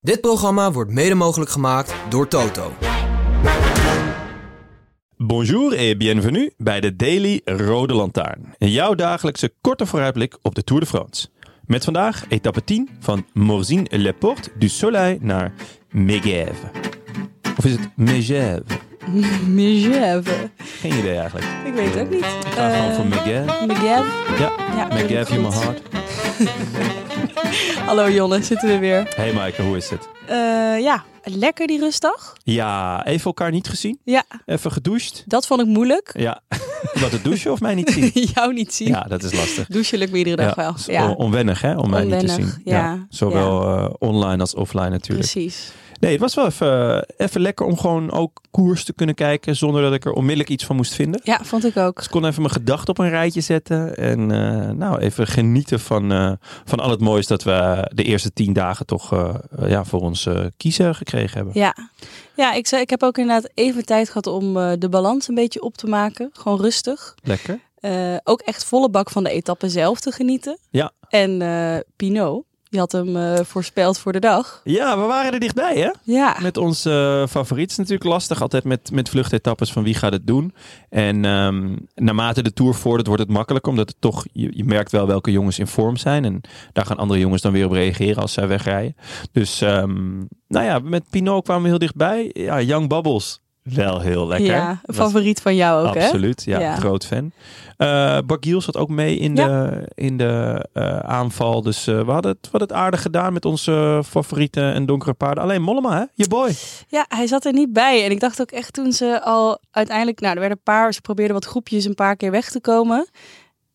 Dit programma wordt mede mogelijk gemaakt door Toto. Bonjour et bienvenue bij de Daily Rode Lantaarn. Jouw dagelijkse korte vooruitblik op de Tour de France. Met vandaag etappe 10 van Morzine-les-Portes du Soleil naar Megève. Of is het Megève? Megève. Geen idee eigenlijk. Ik weet het ook niet. Eh. Ik ga gewoon voor Megève. Megève. Ja, Ja, Megève in my goed. heart. Hallo Jonne, zitten we weer. Hey Maaike, hoe is het? Eh, ja, lekker die rustdag. Ja, even elkaar niet gezien. Ja, Even gedoucht. dat vond ik moeilijk. Ja, wat het douchen of mij niet zien. Jou niet zien. Ja, dat is lastig. Douchen lukt me iedere dag wel. is on- Ja, onwennig hè, om mij niet te Onwennig, zien. ja. Zowel eh, online als offline natuurlijk. precies. Nee, het was wel even, eh, even lekker om gewoon ook koers te kunnen kijken zonder dat ik er onmiddellijk iets van moest vinden. Ja, vond ik ook. Dus ik kon even mijn gedachten op een rijtje zetten en eh, nou even genieten van, eh, van al het moois dat we de eerste tien dagen toch eh, eh, ja, voor ons eh, kiezen gekregen hebben. Ja, ja ik, zei, ik heb ook inderdaad even tijd gehad om eh, de balans een beetje op te maken. Gewoon rustig. Lekker. Eh, ook echt volle bak van de etappe zelf te genieten. Ja. En eh Pinot, die had hem eh, voorspeld voor de dag. Ja, we waren er dichtbij hè? Ja, Met ons eh favoriet is het natuurlijk lastig altijd met, met vluchtetappes van wie gaat het doen. En ehm, naarmate de Tour vordert wordt het makkelijker. Omdat het toch, je, je merkt wel welke jongens in vorm zijn. En daar gaan andere jongens dan weer op reageren als zij wegrijden. Dus ehm, nou ja, met Pinot kwamen we heel dichtbij. Ja, Young Bubbles. Wel heel lekker. ja een Was- favoriet van jou ook hè? Absoluut, ja, Ja. groot fan. Eh Bagiel zat ook mee in Ja. de, in de eh, aanval. Dus eh, we hadden het, we hadden het aardig gedaan met onze eh, favorieten en donkere paarden. Alleen Mollema, hè? Je boy. Ja, hij zat er niet bij. En ik dacht ook echt toen ze al uiteindelijk... Nou, er werden een paar... Ze probeerden wat groepjes een paar keer weg te komen.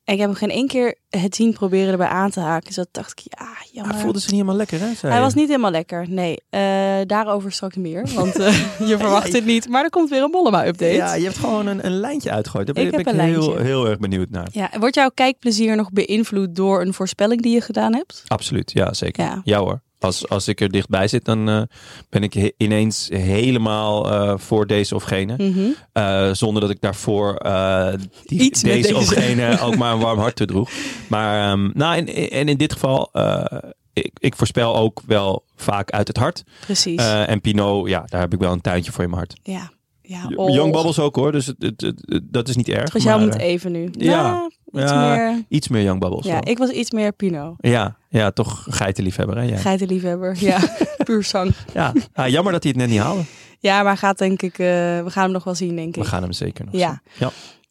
En ik heb hem geen één keer het zien proberen erbij aan te haken. Dus dat dacht ik, ja, jammer. Hij voelde zich niet helemaal lekker, hè? zei Hij je. was niet helemaal lekker, nee. Eh, daarover straks meer, want eh, je verwacht het niet. Maar er komt weer een Mollema-update. Ja, je hebt gewoon een, een lijntje uitgegooid. Daar ben, Ik ben heb een ik heel, lijntje. heel erg benieuwd naar. Ja, en wordt jouw kijkplezier nog beïnvloed door een voorspelling die je gedaan hebt? Absoluut, ja, zeker. Ja, Ja. hoor. Als, als ik er dichtbij zit, dan eh, ben ik he- ineens helemaal eh, voor deze of gene. Mhm. Eh, zonder dat ik daarvoor eh, die- Iets met deze, of deze. gene ook maar een warm hart toedroeg. Maar ehm, nou, en, en in dit geval, eh, ik, ik voorspel ook wel vaak uit het hart. Precies, Eh, en Pinot, ja, daar heb ik wel een tuintje voor in mijn hart. ja. ja oh. Young Bubbles ook hoor, dus het, het- het- het- dat is niet erg. Het was jou maar, moet eh, even nu. ja. Nou, iets Ja, meer... Iets meer Young Bubbles. Ja, wel. ik was iets meer Pinot. Ja, ja, toch geitenliefhebber. Hè? Ja. Geitenliefhebber, ja. Puur zang. Ja. Ah, jammer dat hij het net niet haalde. Ja, maar gaat denk ik, eh, we gaan hem nog wel zien, denk We ik. gaan hem zeker nog Ja. zien.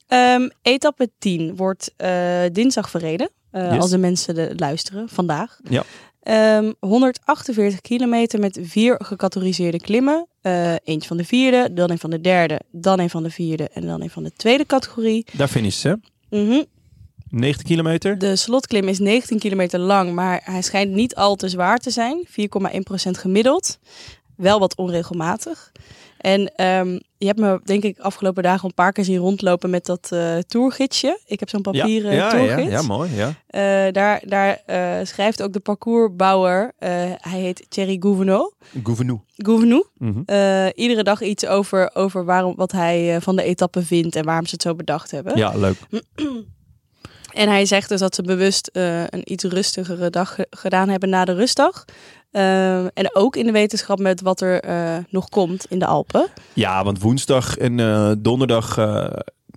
Ja. Ehm, etappe 10 wordt eh, dinsdag verreden. eh, Yes. Als de mensen de, luisteren, vandaag. Ja. Ehm, 148 kilometer met vier gecategoriseerde klimmen. Eh, eentje van de vierde, dan een van de derde, dan een van de vierde en dan een van de tweede categorie. Daar finish ze. Mhm. 90 kilometer. De slotklim is 19 kilometer lang, maar hij schijnt niet al te zwaar te zijn. 4,1% gemiddeld. Wel wat onregelmatig. En ehm, je hebt me denk ik afgelopen dagen een paar keer zien rondlopen met dat eh tourgidsje. Ik heb zo'n papieren ja, ja, tourgids. ja, mooi. Ja. Eh, daar daar eh, schrijft ook de parcoursbouwer, eh, hij heet Thierry Gouvenot. Gouvenou. Gouvenou. Mhm. Eh, iedere dag iets over, over waarom, wat hij eh, van de etappe vindt en waarom ze het zo bedacht hebben. Ja, leuk. En hij zegt dus dat ze bewust eh, een iets rustigere dag ge- gedaan hebben na de rustdag. Ehm, en ook in de wetenschap met wat er eh, nog komt in de Alpen. Ja, want woensdag en eh, donderdag, eh,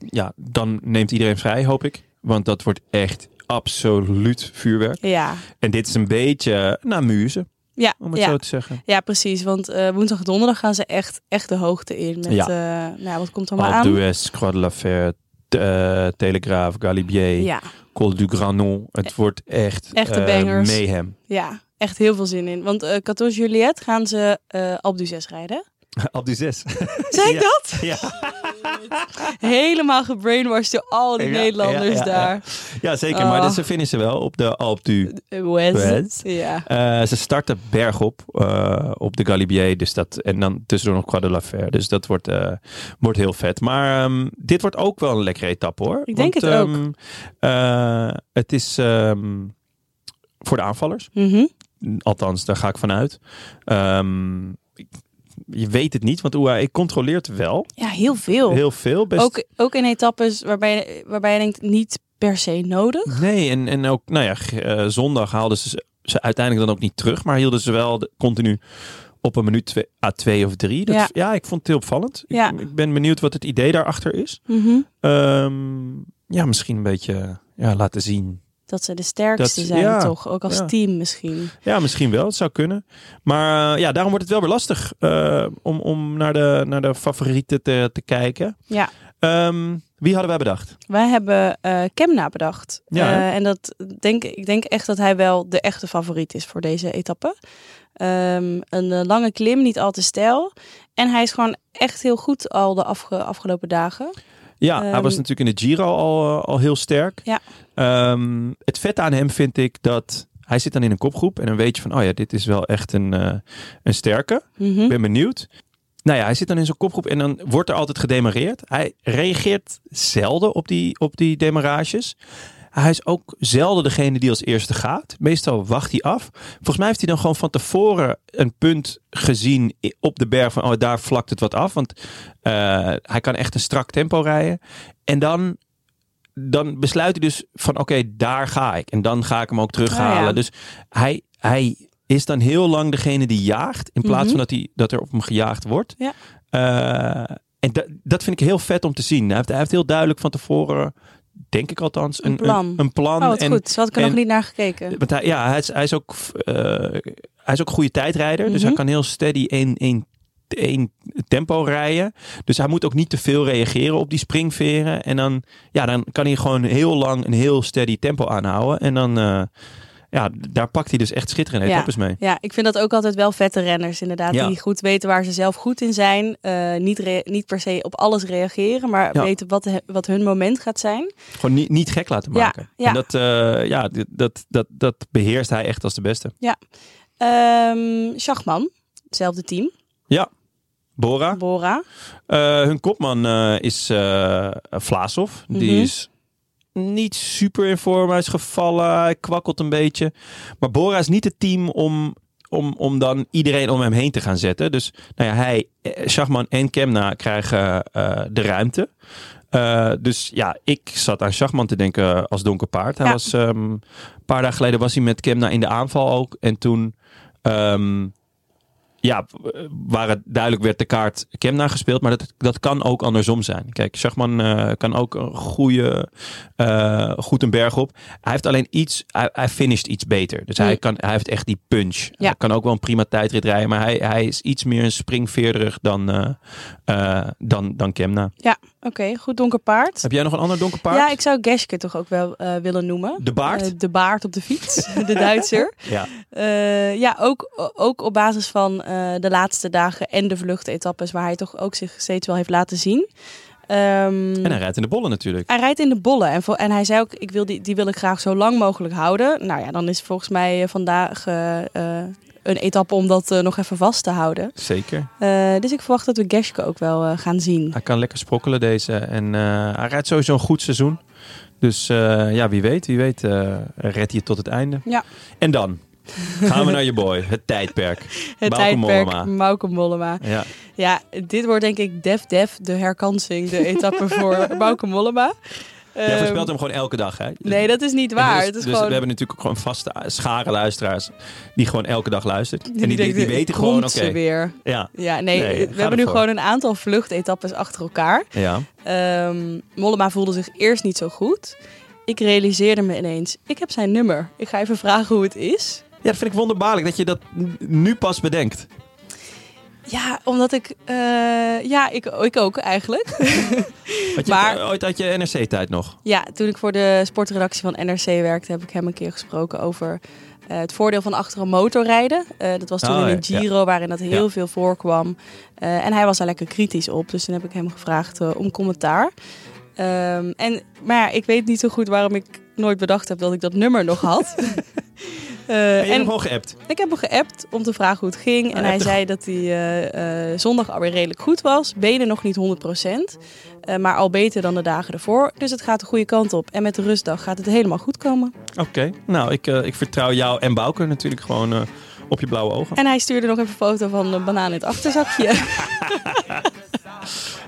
ja, dan neemt iedereen vrij, hoop ik. Want dat wordt echt absoluut vuurwerk. Ja, En dit is een beetje eh, nou, muze, ja, om het ja. zo te zeggen. ja precies. Want eh, woensdag en donderdag gaan ze echt, echt de hoogte in. Met, Ja. ja. nou, ja, wat komt er maar Alpe aan? d'Huez, Croix de la Fer, eh Telegraaf, Galibier, Ja, Col du Granon. Het wordt echt, Eh, Echte eh, bangers. mayhem. ja, echt heel veel zin in. Want eh 14 Juliet gaan ze eh Alpe d'Huez rijden. Alpe d'Huez. Zeg ik Ja. dat? Ja. Helemaal gebrainwashed door al die Ja, Nederlanders ja, ja, ja. daar. Ja, zeker. Maar Oh. dat- ze vinden ze wel op de Alpe du Eh, West. West. Ja. Eh, ze starten bergop eh, op de Galibier. Dus dat, en dan tussendoor nog Croix de la Fer. Dus dat wordt, eh, wordt heel vet. Maar ehm, dit wordt ook wel een lekkere etappe hoor. Ik denk het ook. ehm, eh, het is ehm, voor de aanvallers. Mhm. Althans, daar ga ik vanuit. Ehm, ik- je weet het niet, want UAE controleert wel ja, heel veel. heel veel. Best Ook, ook in etappes waarbij, waarbij je denkt, niet per se nodig. Nee, en, en ook, nou ja, g- eh, zondag haalden ze ze- ze uiteindelijk dan ook niet terug, maar hielden ze wel de- continu op een minuut twee, à twee of drie. Dat, ja. Ja. ik vond het heel opvallend. Ja. Ik, ik ben benieuwd wat het idee daarachter is. Mhm. Ehm, ja, misschien een beetje ja, laten zien. Dat ze de sterkste Dat- zijn ja, toch? Ook als ja. team misschien. Ja, misschien wel. Het zou kunnen. Maar eh, ja, daarom wordt het wel weer lastig eh, om, om naar, de, naar de favorieten te, te kijken. Ja. Ehm, wie hadden wij bedacht? Wij hebben eh Kemna bedacht. Ja, hè? Eh, en dat denk, ik denk echt dat hij wel de echte favoriet is voor deze etappe. Ehm, een eh, lange klim, niet al te stijl. En hij is gewoon echt heel goed al de afge- afgelopen dagen. Ja, hij Ehm, was natuurlijk in de Giro al, eh, al heel sterk. Ja. Ehm, het vette aan hem vind ik dat hij zit dan in een kopgroep en dan weet je van, oh ja, dit is wel echt een, eh, een sterke. Mhm. Ik ben benieuwd. Nou ja, hij zit dan in zo'n kopgroep en dan wordt er altijd gedemareerd. Hij reageert zelden op die, op die demarages. Hij is ook zelden degene die als eerste gaat. Meestal wacht hij af. Volgens mij heeft hij dan gewoon van tevoren een punt gezien i- op de berg. Van oh, daar vlakt het wat af. Want eh, hij kan echt een strak tempo rijden. En dan, dan besluit hij dus van oké, daar ga ik. En dan ga ik hem ook terughalen. Ah, ja. Dus hij, hij is dan heel lang degene die jaagt. In plaats Mhm. van dat, hij, dat er op hem gejaagd wordt. Ja. Eh, en da- dat vind ik heel vet om te zien. Hij heeft, hij heeft heel duidelijk van tevoren, denk ik althans, een, Een plan. Een, plan. Oh, wat en, goed. Zo had ik er en- nog niet naar gekeken. Want hij, ja, hij is, hij is ook, eh, hij is ook een goede tijdrijder. Dus Mhm. hij kan heel steady één, één, één tempo rijden. Dus hij moet ook niet te veel reageren op die springveren. En dan, ja, dan kan hij gewoon heel lang een heel steady tempo aanhouden. En dan, eh, ja, daar pakt hij dus echt schitterende Ja. etappes mee. Ja, ik vind dat ook altijd wel vette renners inderdaad. Ja. Die goed weten waar ze zelf goed in zijn. Eh, niet, re- niet per se op alles reageren, maar Ja. weten wat, he- wat hun moment gaat zijn. Gewoon niet, niet gek laten Ja, maken. ja. En dat, eh, ja, dat, dat, dat, dat beheerst hij echt als de beste. Ehm Schachman, hetzelfde team. Bora. Bora. Eh, hun kopman eh, is eh Vlaasov. Die Mhm. is niet super in vorm. Hij is gevallen. Hij kwakkelt een beetje. Maar Bora is niet het team om, om, om dan iedereen om hem heen te gaan zetten. Dus nou ja, hij, eh, Schachman en Kemna krijgen eh, de ruimte. Eh, dus ja, ik zat aan Schachman te denken als donker paard. Hij Ja. was, ehm, een paar dagen geleden was hij met Kemna in de aanval ook. En toen... ehm, ja, waar het duidelijk werd de kaart Kemna gespeeld. Maar dat, dat kan ook andersom zijn. Kijk, Schachman eh, kan ook een goede, eh, goed een berg op. Hij heeft alleen iets, hij, hij finisht iets beter. Dus hij, Mm. kan, hij heeft echt die punch. Hij kan ook wel een prima tijdrit rijden. Maar hij, hij is iets meer een springveerderig dan, eh, eh, dan, dan Kemna. Oké, goed donker paard. Heb jij nog een ander donker paard? Ja, ik zou Geschke toch ook wel eh, willen noemen. De baard? Eh, de baard op de fiets, de Duitser. ja. Eh, ja, ook, ook op basis van eh, de laatste dagen en de vluchtetappes, waar hij toch ook zich steeds wel heeft laten zien. Ehm, En hij rijdt in de bollen natuurlijk. hij rijdt in de bollen en, vol- en hij zei ook, ik wil die, die wil ik graag zo lang mogelijk houden. Nou ja, dan is volgens mij eh, vandaag eh, eh, een etappe om dat eh, nog even vast te houden. Zeker. Eh, dus ik verwacht dat we Geschke ook wel eh, gaan zien. Hij kan lekker sprokkelen deze. En eh, hij rijdt sowieso een goed seizoen. Dus eh, ja, wie weet, wie weet eh redt hij het tot het einde. Ja. En dan gaan we naar je boy, het tijdperk. Het Bauke Mollema. tijdperk Mauke Mollema. Ja, Ja, dit wordt denk ik def def de herkansing, de etappe voor Bauke Mollema. jij Ehm, voorspelt hem gewoon elke dag, hè? Dus- Nee, dat is niet waar. dus- het is dus gewoon... we hebben natuurlijk ook gewoon vaste schare luisteraars die gewoon elke dag luistert. En die, die, denkt, die dit weten gewoon, komt oké, ze weer. ja, Ja, nee, Nee, ga we hebben nu ervoor. gewoon een aantal vluchtetappes achter elkaar. ja, Ehm, Mollema voelde zich eerst niet zo goed. Ik realiseerde me ineens, ik heb zijn nummer. Ik ga even vragen hoe het is. ja, dat vind ik wonderbaarlijk dat je dat n- nu pas bedenkt. Ja, omdat ik... eh, ja, ik, ik ook eigenlijk. Want je, eh, Maar- Eh, ooit had je NRC-tijd nog. Ja, toen ik voor de sportredactie van NRC werkte, heb ik hem een keer gesproken over Eh, het voordeel van achter een motor rijden. Eh, dat was toen Oh, in ja, een Giro waarin dat heel Ja. veel voorkwam. Eh, en hij was daar lekker kritisch op. Dus toen heb ik hem gevraagd eh, om commentaar. Ehm, en, maar ja, ik weet niet zo goed waarom ik nooit bedacht heb dat ik dat nummer nog had. Eh, En je hebt en hem gewoon geappt. ik heb hem geappt om te vragen hoe het ging. en hij hij heeft zei dat hij eh, eh, zondag alweer redelijk goed was. Benen nog niet 100%, eh, maar al beter dan de dagen ervoor. Dus het gaat de goede kant op. En met de rustdag gaat het helemaal goed komen. Oké, nou ik, eh, ik vertrouw jou en Bouke natuurlijk gewoon eh, op je blauwe ogen. En hij stuurde nog even een foto van de banaan in het achterzakje.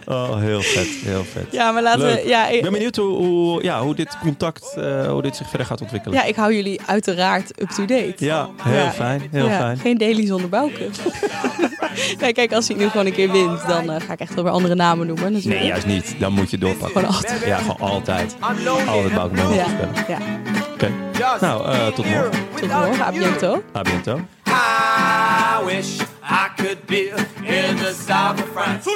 Oh, heel vet, heel vet. ja, maar laten Leuk. we... Ja, Ik ben benieuwd hoe, hoe, ja, hoe dit contact, eh, hoe dit zich verder gaat ontwikkelen. ja, ik hou jullie uiteraard up-to-date. Ja, heel Ja. fijn, heel Ja, fijn. Geen daily zonder bouwken. nee, kijk, als hij nu gewoon een keer wint, dan eh, ga ik echt wel weer andere namen noemen. natuurlijk. Nee, juist niet. Dan moet je doorpakken. Gewoon altijd. Ja, gewoon altijd. Altijd Bouke Mollema Ja, voorspellen. ja. Oké, nou eh, tot morgen. Tot morgen, à bientôt. A bientôt. I wish I could be in the south of France.